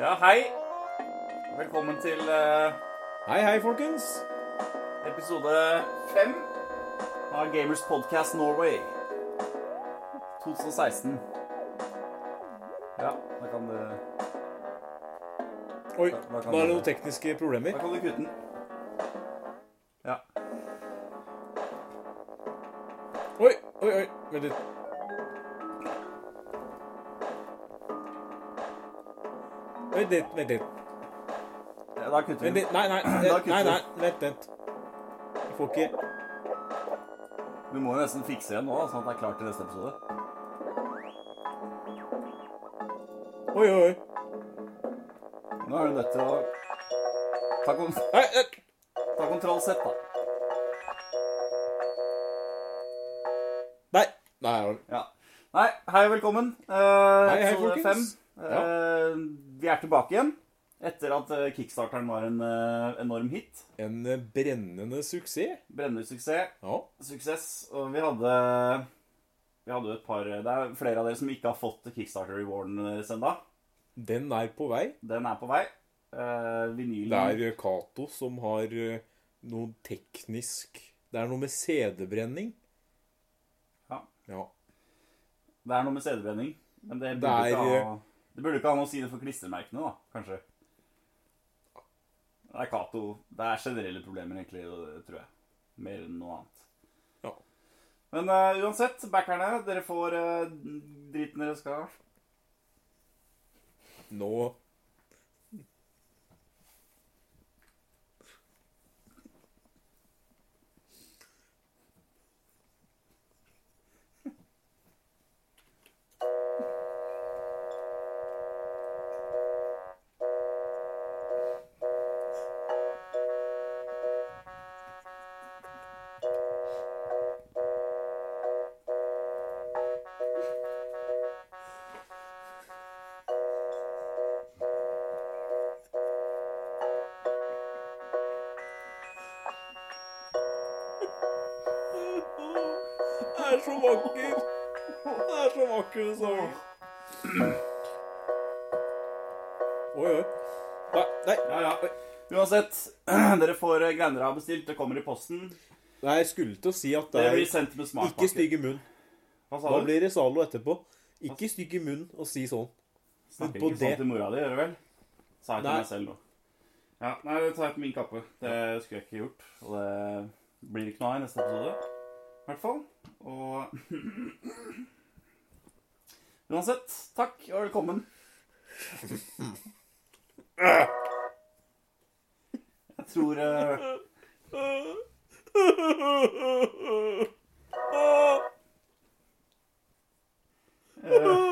Ja, hei. Velkommen til eh, Hei, hei, folkens. episode fem av Gamers Podcast Norway 2016. Ja, da kan du, Oi, Hva- hva kan nå er det det noen tekniske problemer. da kan du kutte den. Ja. Oi, oi, oi. Vent litt. Vent litt, vent litt. ja, da kutter vi Vent den. litt. Nei, nei, Da vent, kutter nei, vi. nei, vent, vent. Jeg får ikke Du må jo nesten fikse igjen nå, da, sånn at det er klart til neste episode. Oi, oi, oi. Nå er du nødt til å ta, kon Nei, nei. ta kontroll Z, da. Nei, nei. jeg har- Ja. Nei, hei og velkommen. Eh, Hei, hei, episode folkens. fem. Eh, vi er tilbake igjen etter at eh, kickstarteren var en eh, enorm hit. En eh, brennende suksess. Brennende suksess. Ja. Suksess. Og vi hadde Vi hadde jo et par Det er flere av dere som ikke har fått kickstarter-rewarden deres ennå. Den er på vei. Den er på vei. Eh, Det vinylen er eh, Cato som har eh, noe teknisk Det er noe med CD-brenning. Ja. Ja. Det er noe med CD-brenning. Men det burde, Det er, eh, ikke ha, det burde ikke ha noe å si det for klistremerkene, da, kanskje. Det er Cato. Det er generelle problemer, egentlig, det tror jeg. Mer enn noe annet. Ja. Men eh, uansett, backerne, dere får eh, driten dere skal ha. Nå Det er så vakker. Det er så vakker den sangen. Oi, oi. Nei, nei. Ja, ja. Uansett, dere får eh, greiene dere har bestilt. Det kommer i posten. Nei, jeg skulle til å si at det Dere er blir sendt med ikke smakpakke. stygg i munnen. Hva sa Da du? blir det Zalo etterpå. Ikke stygg i munnen og si sånn. Snakker på ikke det. sånn til mora di, gjør du vel? Sa jeg til Nei. meg selv nå. Ja, nei, det tar jeg på min kappe. Det skulle jeg ikke gjort. Og det blir ikke noe av i neste episode. I hvert fall. Og Uansett, takk og velkommen. Jeg tror eh, eh,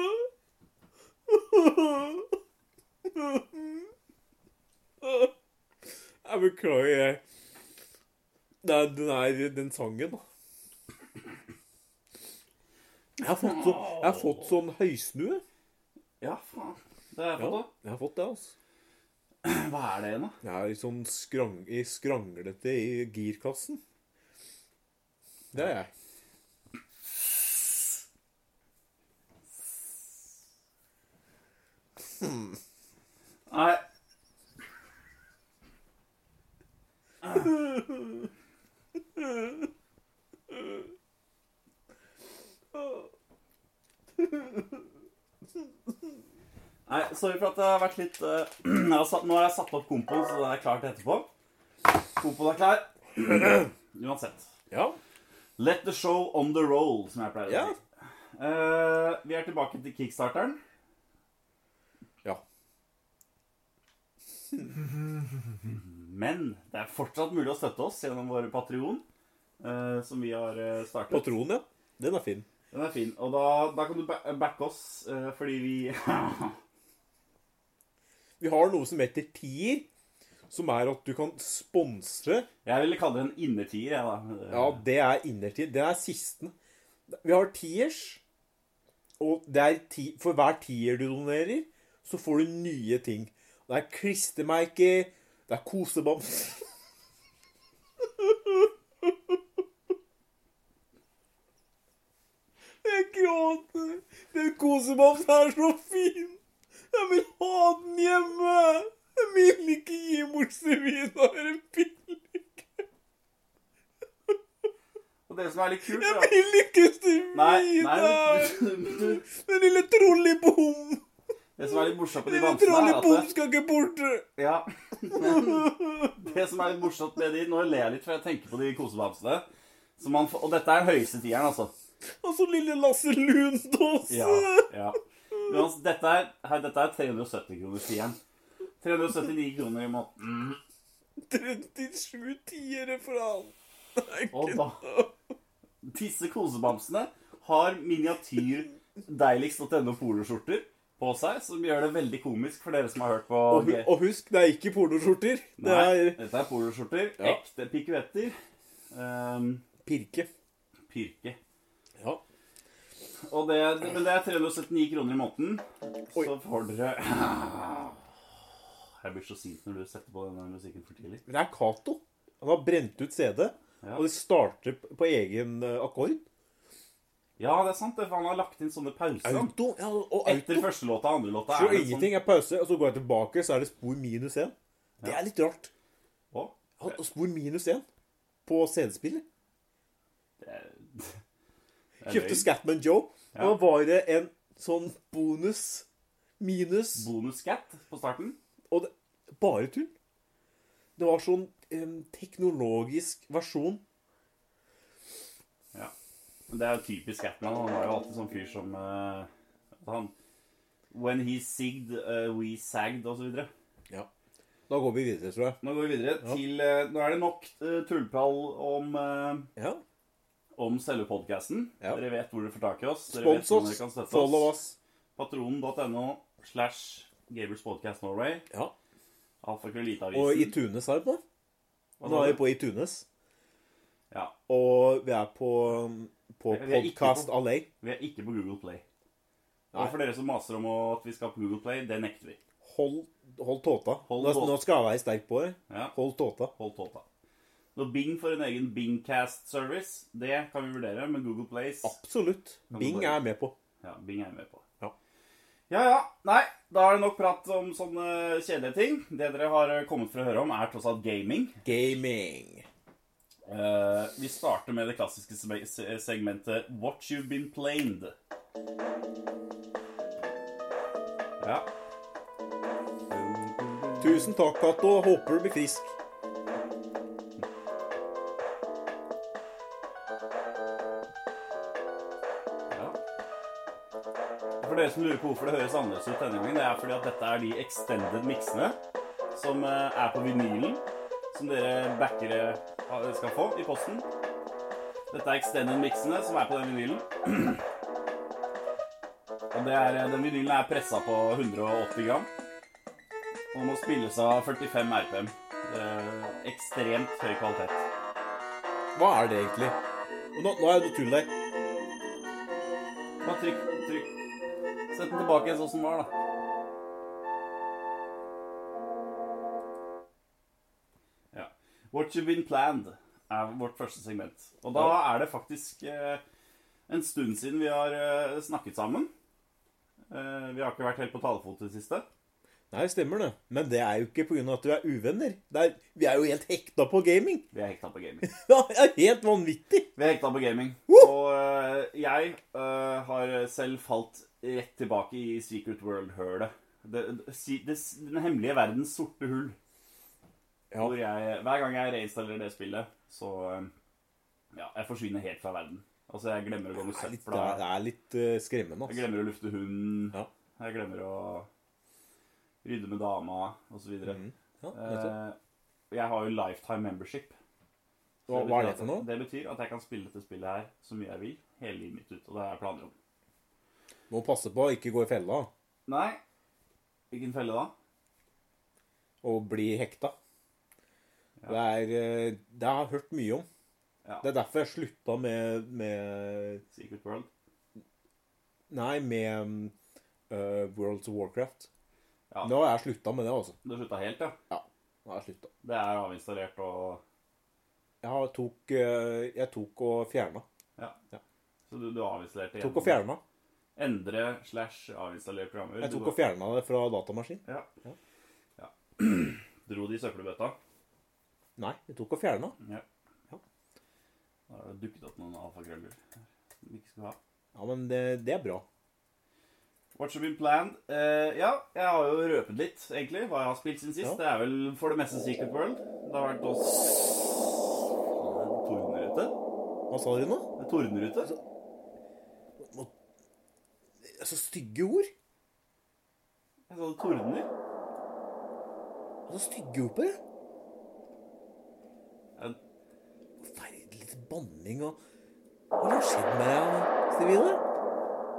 Jeg beklager, jeg. Nei, den er den sangen, da. Jeg har fått, så, jeg har fått sånn høysnue. Ja, faen. Det har jeg Ja, fått, jeg har fått det, altså. da. Hva er det igjen, da? Jeg er litt sånn skrang, i skranglete i girkassen. Det er jeg. Nei. Nei, sorry for at det har vært litt eh, jeg har satt, Nå har jeg satt opp kompoen, så det er klart etterpå. Kompoen er klar. Uansett. Ja. Let the show on the roll, som jeg pleier å si. Ja. Eh, vi er tilbake til kickstarteren. Ja. Men det er fortsatt mulig å støtte oss gjennom vår Patrion, eh, som vi har eh, startet. Patronen, ja. Den er fin. Den er fin. Og da, da kan du ba- backe oss, eh, fordi vi Vi har noe som heter tier, som er at du kan sponse Jeg ville kalle det en innertier, jeg, da. Ja, det er innertid. Den er sisten. Vi har tiers, og det er ti, for hver tier du donerer, så får du nye ting. Det er klistremerker, det er kosebams Jeg gråter. Den kosebamsen er så fin. Jeg vil ha den hjemme! Jeg vil ikke gi bort seminare billig. Og det som er litt kult er Jeg at- vil ikke Nei, nei seminare! men- men- Den lille trollibom! Det som er litt morsomt med Den de lille bamsene, er at trollibom det, skal ikke bort! ja, det som er litt morsomt med de Nå ler jeg litt, for jeg tenker på de kosebamsene. Som man, får- og dette er den høyeste tieren, altså. Og så lille Lasse Lundås. Ja, ja. Men altså, dette er, her, dette er 370 kroner tieren. 379 kroner i måneden. 37 tiere for han. Nei, Og ikke da Disse kosebamsene har miniatyr deiligst.no poloskjorter på seg, som gjør det veldig komisk for dere som har hørt på Og, hu- og husk, det er ikke pornoskjorter. Det Nei, er dette er poloskjorter. Ja. Ekte pikuetter. ehm, pirke. pyrke. Ja. Og det, men det er 379 kroner i måneden. Oi. Så får dere Jeg blir så sint når du setter på denne musikken for tidlig. Men det er Cato. Han har brent ut CD, Ja. og det starter p- på egen eh, akkord. Ja, det er sant, det, for han har lagt inn sånne pauser. Auto. Ja, og Etter auto. første låta og andre låta Så er det sånn ingenting er pause, og så går jeg tilbake, så er det spor minus én. Det er litt rart. Å, Han- Spor minus én på CD-spillet. det er- det er løgn. Kjøpte Scatman Joe, Ja. og da var det en sånn bonus minus Bonuscat på starten. Og det, bare tull. Det var sånn em, teknologisk versjon. Ja. Men det er jo typisk Scatman. Han var jo alltid sånn fyr som eh, han, When he sigged, eh, we sagged, og så videre. Da går vi videre, tror jeg. Nå går vi videre Ja. til eh, Nå er det nok eh, tullpall om, eh, Ja. om selve podkasten. Ja. Dere vet hvor dere får tak i oss. Dere Spons vet hvordan oss. dere kan støtte Follow oss. oss. Patronen.no slash Gabriels Podcast Norway. Ja. Og i Alfakrøllitavisen. Tunes er det på. Nå er vi på i Tunes. Ja. Og vi er på, um, på Vi er ikke Podcast på- Alley. Vi er ikke på Google Play. Nei. Og for dere som maser om at vi skal på Google Play, det nekter vi. Hold, hold tåta. Hold nå, tåta. nå skal jeg være sterk på det. Ja, Hold tåta. Hold tåta. Når Bing får en egen Bingcast-service, det kan vi vurdere, men Google Plays Absolutt. du Bing bare- er med på. Ja, Bing er jeg med på. Ja. ja ja. Nei, da er det nok prat om sånne kjedelige ting. Det dere har eh, kommet for å høre om, er tross alt gaming. Gaming. Eh, vi starter med det klassiske se- se- segmentet What you've been playing. Ja. Tusen takk, Cato. Håper du blir frisk. Ja. For dere som lurer på hvorfor det høres annerledes ut denne gangen, det er fordi at dette er de extended miksene som eh, er på vinylen, som dere backere ha- skal få i posten. Dette er extended miksene som er på den vinylen. Og det er, eh, den vinylen er pressa på 180 gram og må spilles av 45 RPM. Eh, ekstremt høy kvalitet. Hva er det egentlig? Og nå, nå er det noe tull der. Bare trykk, trykk. Sett den tilbake sånn som den var, da. Ja. What you've been planned er vårt første segment. Og da er det faktisk eh, en stund siden vi har eh, snakket sammen. Eh, vi har ikke vært helt på talefot i det siste. Nei, stemmer det. Men det er jo ikke pga. at du er uvenner. Det er, vi er jo helt hekta på gaming. Vi er hekta på gaming. Ja, det er helt vanvittig. Vi er hekta på gaming. Woo! Og eh, jeg eh, har selv falt rett tilbake i Secret World-hølet. Det, det, si- det, den hemmelige verdens sorte hull. Ja. Hvor jeg, hver gang jeg reinstallerer det spillet, så eh, ja, jeg forsvinner helt fra verden. Altså, jeg glemmer å gå med Det er litt, søpla. det er litt eh, Jeg skremmende. Altså. glemmer å lufte hunden. Ja. Jeg glemmer å rydde med dama, osv. Mhm. Ja, nettopp. Eh, Jeg har jo lifetime membership. hva, hva er det for noe? Det betyr at jeg kan spille dette spillet her så mye jeg vil, hele livet mitt ut. Og det har jeg planer om. Må passe på å ikke gå i fella Nei, hvilken felle da? og bli hekta. Det, er, eh, det har jeg hørt mye om. Ja. Det er derfor jeg slutta med, med Secret World. Nei, med um, eh, World of Warcraft. Ja. Nå har jeg slutta med det, altså. Du slutta helt, ja? Nå har jeg sluttet. Det er avinstallert og Jeg, har tok, eh, jeg tok og fjerna. Så du, du avinstallerte Tok og fjerna. Endre slash avinstallere programmer. Jeg tok Dro- og fjerna det fra datamaskin. ja. Ja. ja. Dro de i søppelbøtta? Nei, jeg tok og fjerna. Ja. Ja. Da har det dukket opp noen alfakrøller som vi ikke skulle ha. Ja, men det, det er bra. What's been planned? Eh, ja, jeg har jo røpet litt, egentlig, hva jeg har spilt siden sist. Ja. Det er vel for det meste Secret World. Det har vært oss Tordenrute? Hva sa dere nå? Det er Tordenrute? Nå- Så Altså, stygge ord. Jeg sa det tordner. Så Altså, stygge ord på det. Ja, Forferdelig litt banning og Hva har skjedd med deg, Stevine?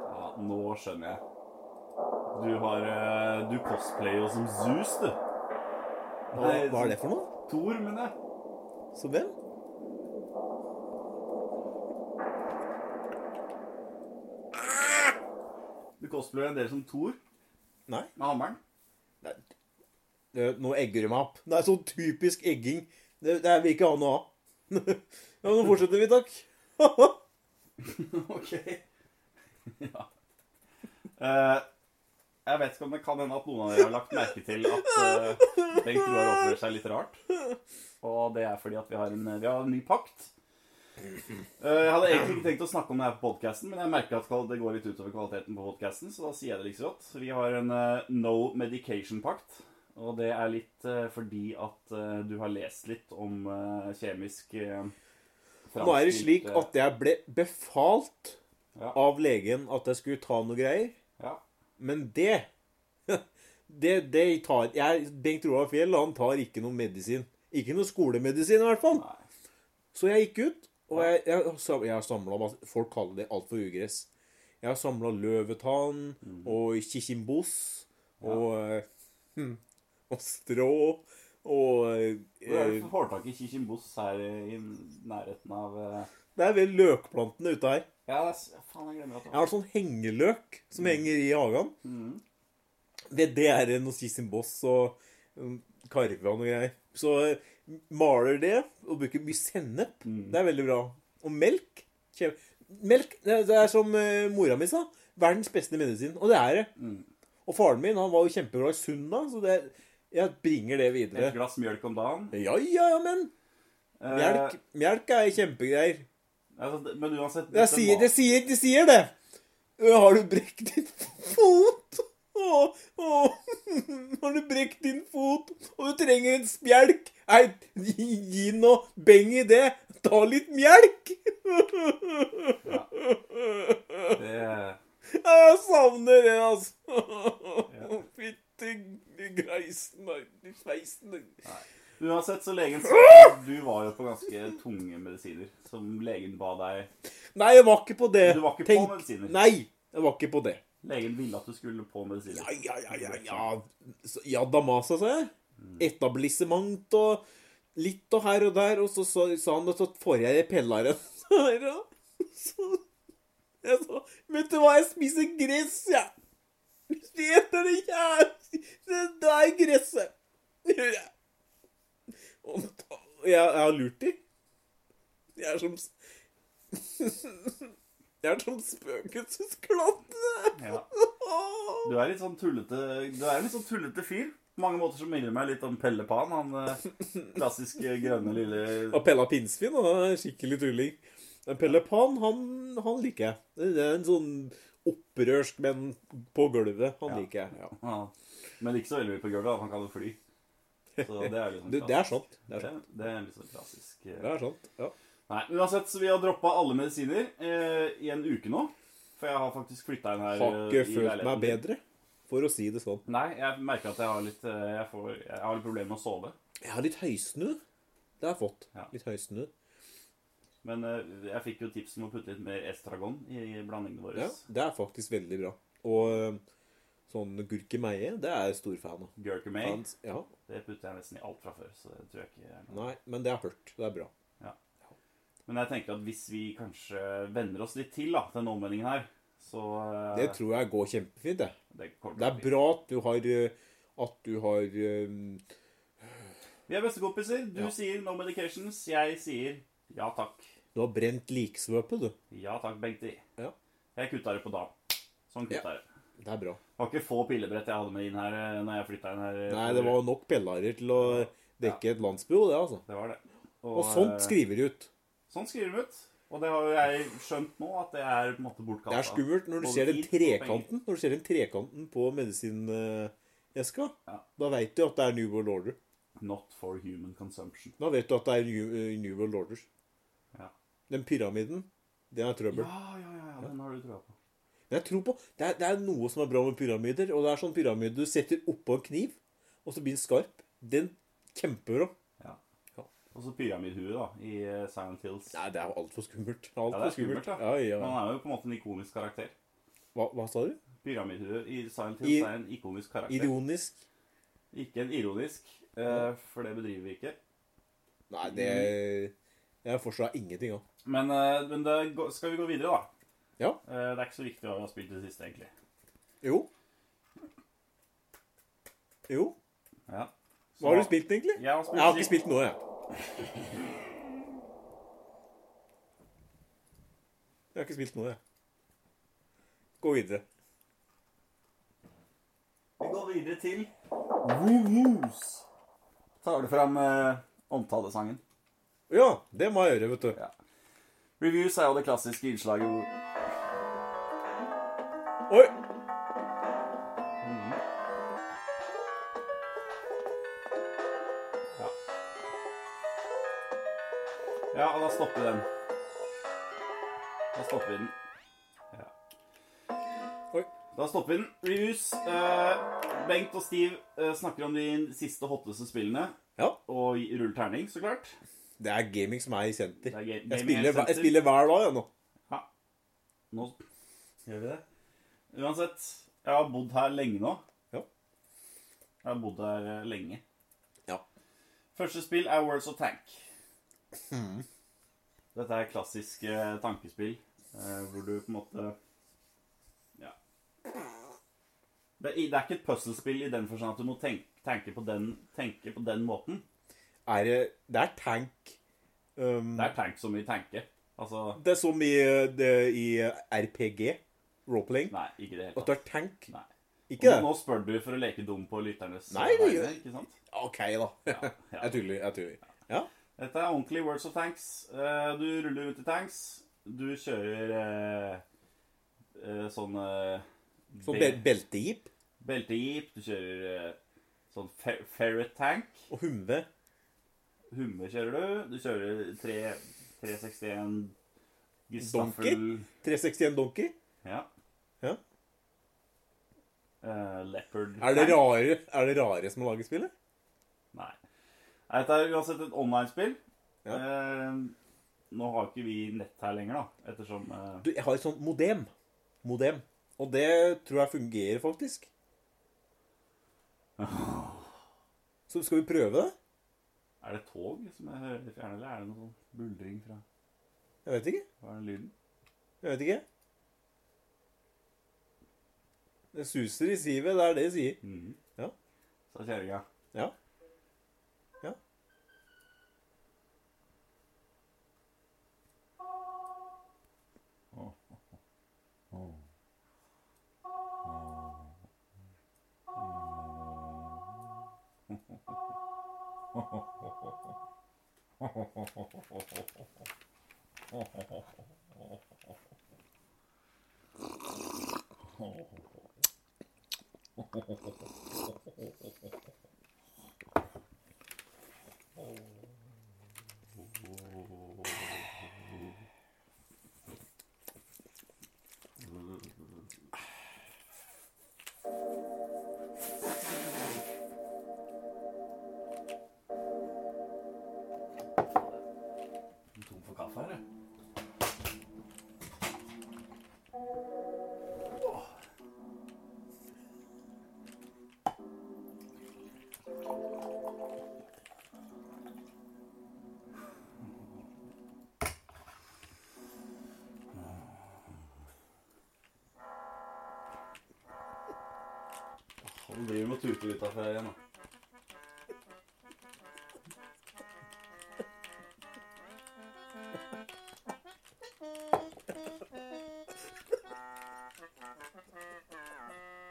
Ja, nå skjønner jeg. Du har eh, Du cosplayer jo som Zeus, du. Hva, hva er det for noe? Tor, mener jeg. Som hvem? Du cosplayer en del som Tor Nei. med hammeren. Nei, det- Nå egger du meg opp. Det er sånn typisk egging. Det, det vil ikke ha noe av. ja, men nå fortsetter vi, takk. ok. ja. Eh, jeg vet ikke om det kan hende at noen av dere har lagt merke til at eh, Bengt Roar oppfører seg litt rart. Og det er fordi at vi har en, vi har en ny pakt. Eh, jeg hadde egentlig ikke tenkt å snakke om det her på podkasten, men jeg merker at det går litt utover kvaliteten på podkasten, så da sier jeg det like så godt. Vi har en eh, no medication-pakt. Og det er litt eh, fordi at eh, du har lest litt om eh, kjemisk eh, Nå er det framstilt, slik eh, at jeg ble befalt Ja. av legen at jeg skulle ta noe greier, ja. men det Det, det tar jeg, Bengt Roar Fjell han tar ikke noe medisin. Ikke noe skolemedisin, i hvert fall. Nei. Så jeg gikk ut, og jeg, jeg, har sam- jeg har samla Folk kaller det alt for ugress. Jeg har samla løvetann Mhm. og kikimbos og, eh, hm, og strå og Hvor er det eh, for hårtak i Kishimbos her i nærheten av eh, Det er vel løkplantene ute her. Ja, det er, s- faen, jeg glemmer at Jeg har sånn hengeløk som henger i hagen. Det, det er noe kikimbos og mm, karve og noe greier. Så eh, maler det og bruker mye sennep. Det er veldig bra. Og melk. Kjem... Melk det, det er som eh, mora mi sa. Verdens beste medisin. Og det er det. Mm. Og faren min han var jo kjempeglad i Sunna, så det, jeg bringer det videre. Et glass mjølk om dagen. Ja, ja, ja, men Eh, melk, melk er kjempegreier. altså, det- men uansett Jeg dette sier, mat- det sier, det sier det! Ø, Har du brekt din fot? Å, å, har du brekt din fot, og du trenger en spjelk? Nei, gi, gi noe beng i det. Ta litt mjelk! det, Jeg savner det, altså. Ja. Fytti greisen og du sveisen og- Uansett, så legen sa Du var jo på ganske tunge medisiner som legen ba deg Nei, jeg var ikke på det. Du var ikke på Tenk- medisiner. Nei, jeg var ikke på det. Legen ville at du skulle på medisiner. Ja, ja, ja, ja, ja. Så- Ja, Damasa, sa jeg. Etablissement og litt og her og der. Og så sa, sa han at så får jeg pellaren. Her, ja. Så jeg sa Vet du hva, jeg spiser gress, jeg. Ja. Det er jævlig Det der gresset. Gjør jeg. Og da- jeg, jeg har lurt de. Jeg er som s- Jeg er som spøkelsesklattene. Ja. Åh. Du er litt sånn tullete Du er en litt sånn tullete fyr. På mange måter så minner du meg litt om Pelle Pan, han eh, klassiske grønne lille Og Pella Pinnsvin han er skikkelig tulling. Men Pelle Pan, han, han liker jeg. Det er en sånn opprørsk menn på gulvet. Han Ja. liker jeg. Ja. ja. Men ikke så veldig mye på gulvet, da. han kan jo fly. Så det er liksom Det, det er sant. Det er sant. Det, det er litt sånn klassisk eh. Det er sant. Ja. Nei, uansett, så vi har droppa alle medisiner eh, i en uke nå. For jeg har faktisk flytta inn her. Har eh, ikke i følt leiligheten. meg bedre, for å si det sånn. Nei, jeg merker at jeg har litt eh, Jeg, får, jeg har litt problemer med å sove. Jeg har litt høysnø. Det har jeg fått. Ja. Litt høysnø. Men eh, jeg fikk jo tips om å putte litt mer estragon i, i blandingene våre. Ja, det er faktisk veldig bra. Og øhm, sånn gurkemeie, det er jeg stor fan av. Gurkumay. Fans- Ja, Det putter jeg nesten i alt fra før, så det tror jeg ikke er noe. nei, men det er hørt. Det er bra. Men jeg tenker at hvis vi kanskje venner oss litt til da, til denne omvendingen her, så eh, Det tror jeg går kjempefint, det. det kommer til Det å er bli- bra at du har øh, At du har eh, øhm, Vi er bestekompiser. Du Ja. sier no medications, jeg sier ja takk. Du har brent liksvøpet, du. Ja takk, Bengt I. Ja. Jeg kutta det på da. Sånn kutt er det. Det er bra. Det var ikke få pillebrett jeg hadde med inn her eh, Når jeg flytta inn her. eh, Nei, det var nok pellarer til å dekke et landsbyrå, det, altså. Det var det. Og sånt eh, skriver de ut. sånt skriver de ut. Og det har jo jeg skjønt nå, at det er på en måte bortkasta. Det er skummelt når du Både ser den tid og penger. trekanten Når du ser den trekanten på medisineska. Ja. Da veit du at det er New World Order. Not for human consumption. Da vet du at det er New, eh, New World Order. Ja. Den pyramiden, den er Ja, trøbbel. ja, ja, ja, den har du trua på. Men jeg tror på, det er, det er noe som er bra med pyramider, og det er sånn pyramide du setter oppå en kniv, og så blir den skarp. Den kjemper om. Ja. Ja. Og så pyramidhuet, da, i eh, Silent Hills. Nei, det er jo altfor skummelt. Alt Ja, for det er skummelt, da. Ja, ja. Han er jo på en måte en ikonisk karakter. Hva, hva sa du? Pyramidhuet i Silent I- Hills er en ikonisk karakter. Ironisk? Ikke en ironisk, eh, for det bedriver vi ikke. Nei, det Jeg forstår ingenting av. Men, eh, men det, gå- skal vi gå videre, da? Ja. Eh, det er ikke så viktig hva vi har spilt i det siste, egentlig. Jo. Jo. Ja. Så- Hva har du spilt, egentlig? Jeg har, spilt Jeg har ikke skikkelig- spilt noe, jeg. Jeg har ikke spilt noe, jeg. Gå videre. Vi går videre til Woo-Woos. Tar du fram eh, omtalesangen? Ja, det må jeg gjøre, vet du. Ja. Reviews er jo det klassiske innslaget hvor Oi! Ja, ja og da stopper den. Da stopper vi den. Ja. Oi. Da stopper vi den. Reviews. eh, Bengt og Steve eh, snakker om de siste hotteste spillene. Ja. Og ruller terning, så klart. Det er gaming som er i senter. Det er ga- Jeg gaming spiller, er senter. jeg spiller hver dag, jeg nå. Nå gjør vi det. Uansett, jeg har bodd her lenge nå. Ja. Jeg har bodd her eh, lenge. Ja. Første spill er Words of Tank. Hmm. Dette er klassisk eh, tankespill, eh, hvor du på en måte Ja. Det, er- det er ikke et puzzlespill i den forstand at du må tenke, tenke, på, den, tenke på den måten. Er det, det er tank. Um, Det er tank som i tanke. Altså det er som i, eh, det, i RPG, roleplaying, Nei, ikke i det hele at tatt. du er tank. Nei. Ikke Og det? nå spør du for å leke dum på lytternes Nei, det vegne, gjør jeg. ikke sant? OK, da. Ja, ja. Jeg tuller. Jeg tuller. Ja. Dette er ordentlig Words of Tanks. Eh, Du ruller ut i tanks. Du kjører eh, eh, sånn eh, Så be- be beltejeep beltejeep. Du kjører eh, sånn fer ferret tank. og humve. Humme kjører du. Du kjører tre- 361 Donker? Gestaffel 361 Donkey. Ja. Ja. Eh, leopard Er det tank. rare, er det rare som har laget spillet? Nei. Nei, Dette er uansett et online-spill. Ja. Eh, nå har ikke vi nett her lenger, da, ettersom eh, Du, jeg har et sånt modem. Modem. Og det tror jeg fungerer, faktisk. Så skal vi prøve det? Er det tog som jeg hører i fjerne, eller er det noe sånn buldring fra Jeg vet ikke. Hva er den lyden? Jeg vet ikke. Det suser i sivet, det er det de sier. Ja. Sa kjerringa. Ja. Ja. Du er tom for kaffe her, jeg. Åh, Nå driver du med å tute utafor igjen, da. Å,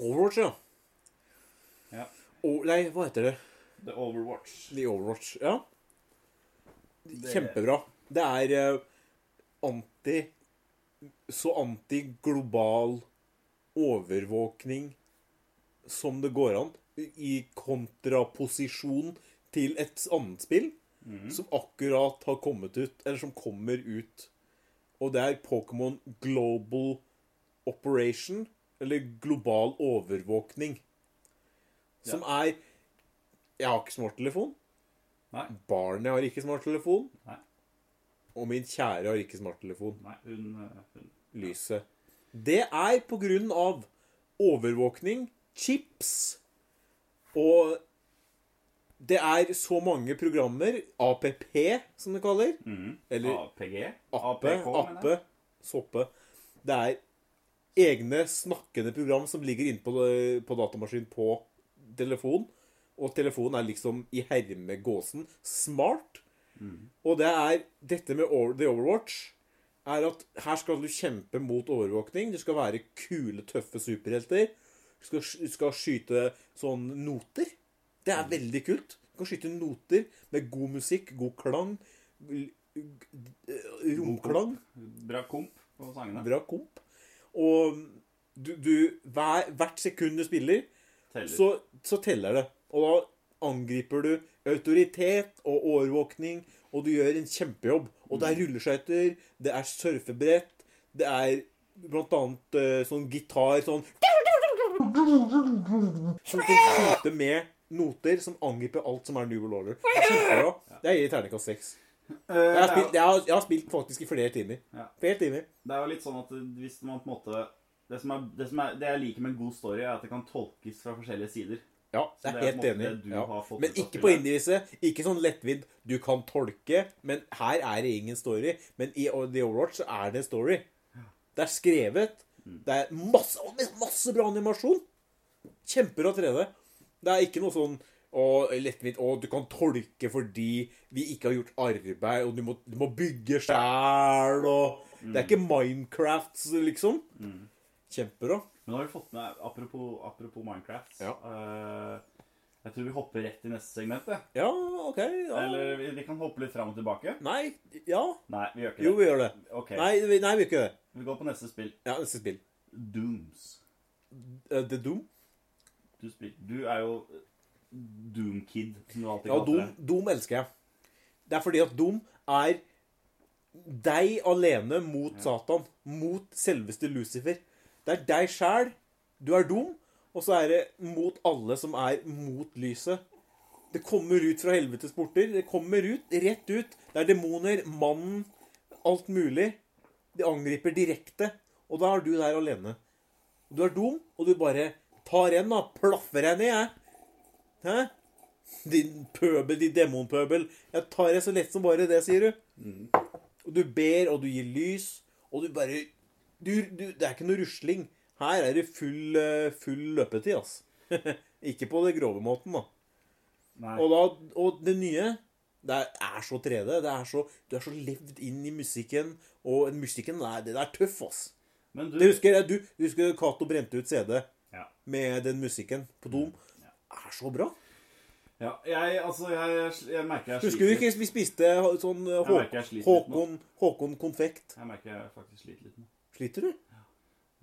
Overwatch, ja. Ja. O- nei, hva heter det? The Overwatch. The Overwatch. Ja. Det- Kjempebra. Det er eh, anti Så anti-global overvåkning som det går an. I kontraposisjon til et annet spill som akkurat har kommet ut, eller som kommer ut. Og det er Pokémon Global Operation, eller Global Overvåkning. Som er Jeg har ikke smarttelefon. Nei. Barnet har ikke smarttelefon. Nei. Og min kjære har ikke smarttelefon. Nei, hun, eh, hun. Lyset. Det er på grunn av overvåkning, chips og Det er så mange programmer, APP, som det kaller, Mm. eller APG? Appe, mener Appe, jeg. Soppe. Det er egne snakkende program som ligger inne på, eh, på datamaskin på telefon. Og telefonen er liksom i hermegåsen smart. Mm. Og det er dette med over, The Overwatch er at her skal du kjempe mot overvåkning. Du skal være kule, tøffe superhelter. Du skal, du skal skyte sånn noter. Det Mm. er veldig kult. Du kan skyte noter med god musikk, god klang. l- g- Eh, Romklang. Bra komp på sangene. Bra komp. Og du, du hver, Hvert sekund du spiller, Teller. så, så teller det. Og da angriper du autoritet og overvåkning, og du gjør en kjempejobb. Mm. Og det er rulleskøyter, det er surfebrett, det er blant annet eh, sånn gitar sånn Som kan skyte med noter som angriper alt som er New World Order. Det er Kjempebra. Det gir terningkast seks. Eh, det Jeg har, er jo- spilt, jeg, har, jeg har spilt faktisk i flere timer. Ja. Flere timer. Det er jo litt sånn at hvis man på en måte det, som er, det, som er, det jeg liker med en god story, er at det kan tolkes fra forskjellige sider. Ja, Så jeg det er er helt på en måte det enig. du Ja. har fått Men ut av ikke på spillet. indieviset. Ikke sånn lettvidd. Du kan tolke, men her er det ingen story. Men i O- The Overwatch så er det en story. Det er skrevet. Mm. Det er masse, å, men masse bra animasjon. Kjempebra 3D. Det er ikke noe sånn å, lettvint Å, du kan tolke fordi vi ikke har gjort arbeid, og du må, du må bygge sjæl, og Det er Mm. ikke Minecraft, liksom. Kjempebra. Men nå har vi fått med Apropos, apropos Minecraft. Ja. eh, jeg tror vi hopper rett i neste segment. jeg. Ja, OK. Ja. Eller vi, vi kan hoppe litt fram og tilbake. Nei. Ja. Nei, vi gjør ikke Jo, det. vi gjør det. Ok, Nei, vi, nei, vi gjør ikke det. Vi går på neste spill. Ja, neste spill. Dooms. Eh, The Doom. Du, spil, du er jo Doom-kid, som du alltid Ja, kaller Doom, det. Doom elsker jeg. Det er fordi at Doom er deg alene mot Satan. Mot selveste Lucifer. Det er deg sjæl. Du er Doom. Og så er det mot alle som er mot lyset. Det kommer ut fra helvetes porter. Det kommer ut, rett ut. Det er demoner, mannen, alt mulig. De angriper direkte. Og da er du der alene. Du er dum, og du bare tar en, da. Plaffer deg ned, jeg. Hæ? Din pøbel, din demonpøbel. Jeg tar det så lett som bare det, sier du. Og du ber, og du gir lys, og du bare du, du, Det er ikke noe rusling. Her er det full, eh, full løpetid, altså. ikke på den grove måten, da. Nei. Og, da, og det nye det er, er så 3D. Det er så, du er så levd inn i musikken. Og musikken, det er, det er tøff, ass. Men du Det husker jeg, du, du husker Cato brente ut CD ja. med den musikken på Dom. Er så bra. ja. Jeg, altså, jeg, jeg merker jeg Husker du ikke vi spiste sånn eh, Jeg merker jeg Hå- sliter litt nå. Håkon, Håkon konfekt? Jeg merker jeg faktisk sliter litt nå. Sliter du?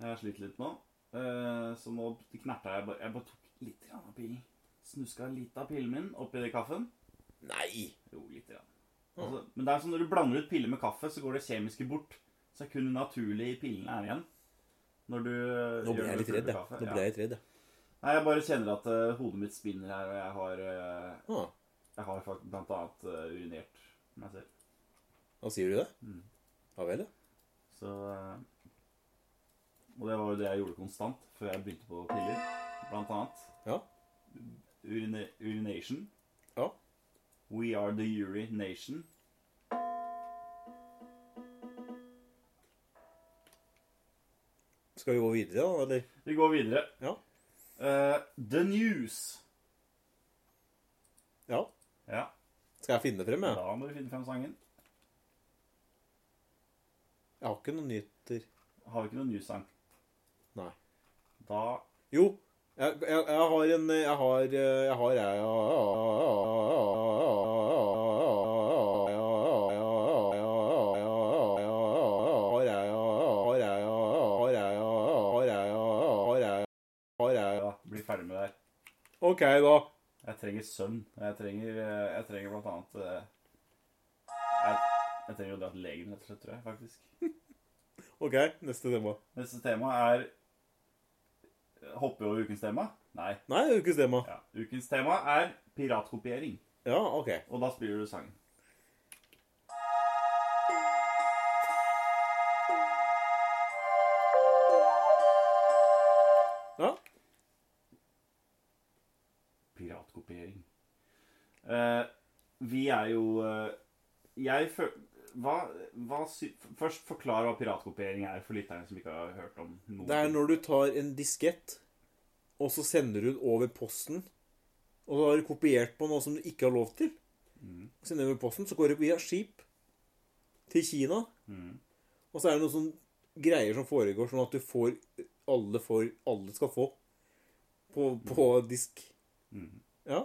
Jeg sliter litt nå. Eh, så nå knerta jeg bare Jeg bare tok litt grann av pillen. Snuska litt av pillen min oppi det kaffen. Nei. Jo, litt grann. Altså, men det er sånn når du blander ut piller med kaffe, så går det kjemiske bort. Så er kun det naturlige i pillene er igjen. Når du eh, Nå ble gjør jeg det litt med redd, jeg. kaffe. Nå Ja. ble jeg litt redd, jeg. Nei, jeg bare kjenner at eh, hodet mitt spinner her, og jeg har, eh, Ah, jeg har faktisk blant annet eh, urinert meg selv. da sier du det? Ja vel, ja. Så eh, Og det var jo det jeg gjorde konstant før jeg begynte på piller, blant annet. Ja. Urina urination. Ja. We are the Uri Nation. Skal vi gå videre, da? Eller? Vi går videre. Ja. Eh, the News. Ja. Ja. Skal jeg finne det frem, jeg? Da må du finne frem sangen. Jeg har ikke noen nyheter. Har vi ikke noen nysang? Nei. Da Jo, jeg, jeg, jeg har en Jeg har eh, Jeg har jeg, jeg, ja, blir ferdig med det her. OK, da. Jeg trenger søvn. Jeg trenger, eh, jeg trenger blant annet eh, jeg, jeg trenger å dra til legen, rett og slett, tror jeg, faktisk. OK, neste tema. Neste tema er Hopper vi over ukens tema? Nei. Nei, det er ukens tema. Ja. Ukens tema er piratkopiering. Ja, OK. Og da spiller du sangen. Ja. Piratkopiering. Eh, vi er jo eh, Jeg føl... Hva, hva sy... Først forklar hva piratkopiering er for lytterne som ikke har hørt om noe. Det er når du tar en diskett, og så sender du den over posten, og så har du kopiert på noe som du ikke har lov til. Sender du over posten, så går det via skip til Kina, Mhm. og så er det noen sånne greier som foregår, sånn at du får alle, får, alle skal få på, på disk. Mhm. Ja.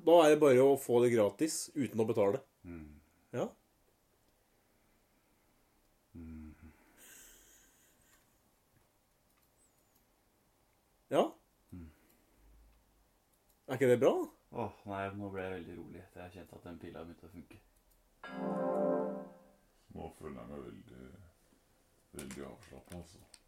Da er det bare å få det gratis uten å betale. Mhm. Ja. Mm. Ja. Er ikke det bra? da? Åh, nei, nå ble jeg veldig rolig etter jeg kjente at den pila begynte å funke. Nå føler jeg meg veldig Veldig avslappa, altså.